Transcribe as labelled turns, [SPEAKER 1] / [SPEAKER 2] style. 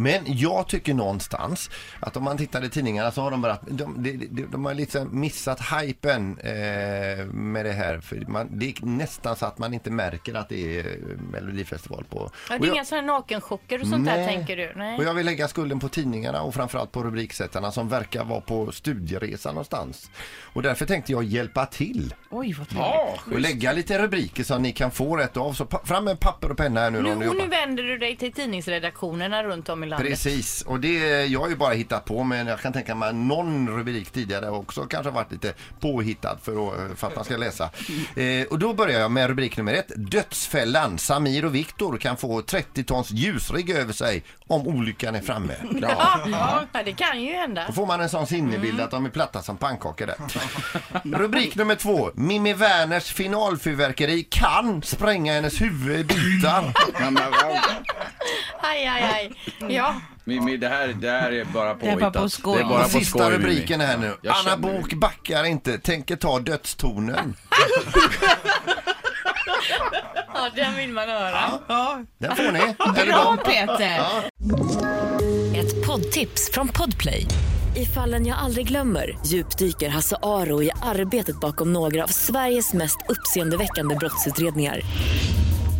[SPEAKER 1] Men jag tycker någonstans att om man tittar i tidningarna så har de bara, de, de, de, de har liksom missat hypen eh, med det här. För man, det är nästan så att man inte märker att det är eh, Melodifestival på.
[SPEAKER 2] Ja,
[SPEAKER 1] Och
[SPEAKER 2] det är
[SPEAKER 1] jag-
[SPEAKER 2] inga sådana här nakenchocker och sånt där
[SPEAKER 1] Nej.
[SPEAKER 2] tänker du? Nej.
[SPEAKER 1] Och jag vill lägga skulden på tidningarna och framförallt på rubriksättarna som verkar vara på studieresa någonstans. Och därför tänkte jag hjälpa till
[SPEAKER 3] Oj, vad trevligt.
[SPEAKER 4] Ja,
[SPEAKER 1] och
[SPEAKER 4] schysst.
[SPEAKER 1] lägga lite rubriker så att ni kan få rätt av. Så pa- fram med papper och penna här nu, om ni
[SPEAKER 2] Nu, och
[SPEAKER 1] jobbar.
[SPEAKER 2] nu vänder du dig till tidningsredaktionerna runt om i landet.
[SPEAKER 1] Precis, och det jag har ju bara hittat på men jag kan tänka mig någon rubrik tidigare också kanske har varit lite påhittad för, att- för att man ska läsa. Eh, och då börjar jag med rubrik nummer ett. Dödsfällan. Samir och Viktor kan få 30 tons ljusrigg över sig om olyckan är framme.
[SPEAKER 2] Ja. Ja. det kan ju hända.
[SPEAKER 1] Då får man en sån sinnebild att de är platta som pannkakor där. Rubrik nummer två. Mimmi Werners finalfyrverkeri kan spränga hennes huvud i bitar.
[SPEAKER 4] Men, men, men,
[SPEAKER 2] Aj, aj, aj. Ja,
[SPEAKER 4] Mimmi, det här, det här är bara
[SPEAKER 3] är bara
[SPEAKER 4] påhittat.
[SPEAKER 3] på skoj.
[SPEAKER 4] Det är bara
[SPEAKER 1] Och
[SPEAKER 4] på
[SPEAKER 1] sista
[SPEAKER 4] skoj, Mimmi.
[SPEAKER 1] rubriken här nu.
[SPEAKER 4] Jag
[SPEAKER 1] Anna
[SPEAKER 4] känner
[SPEAKER 1] Bok backar inte, tänker ta dödstonen.
[SPEAKER 2] ja den vill man höra.
[SPEAKER 3] Ja.
[SPEAKER 1] Den får ni. Eller
[SPEAKER 3] Bra
[SPEAKER 1] de.
[SPEAKER 3] Peter!
[SPEAKER 5] Ett poddtips från Podplay. I fallen jag aldrig glömmer djupdyker Hasse Aro i arbetet bakom några av Sveriges mest uppseendeväckande brottsutredningar.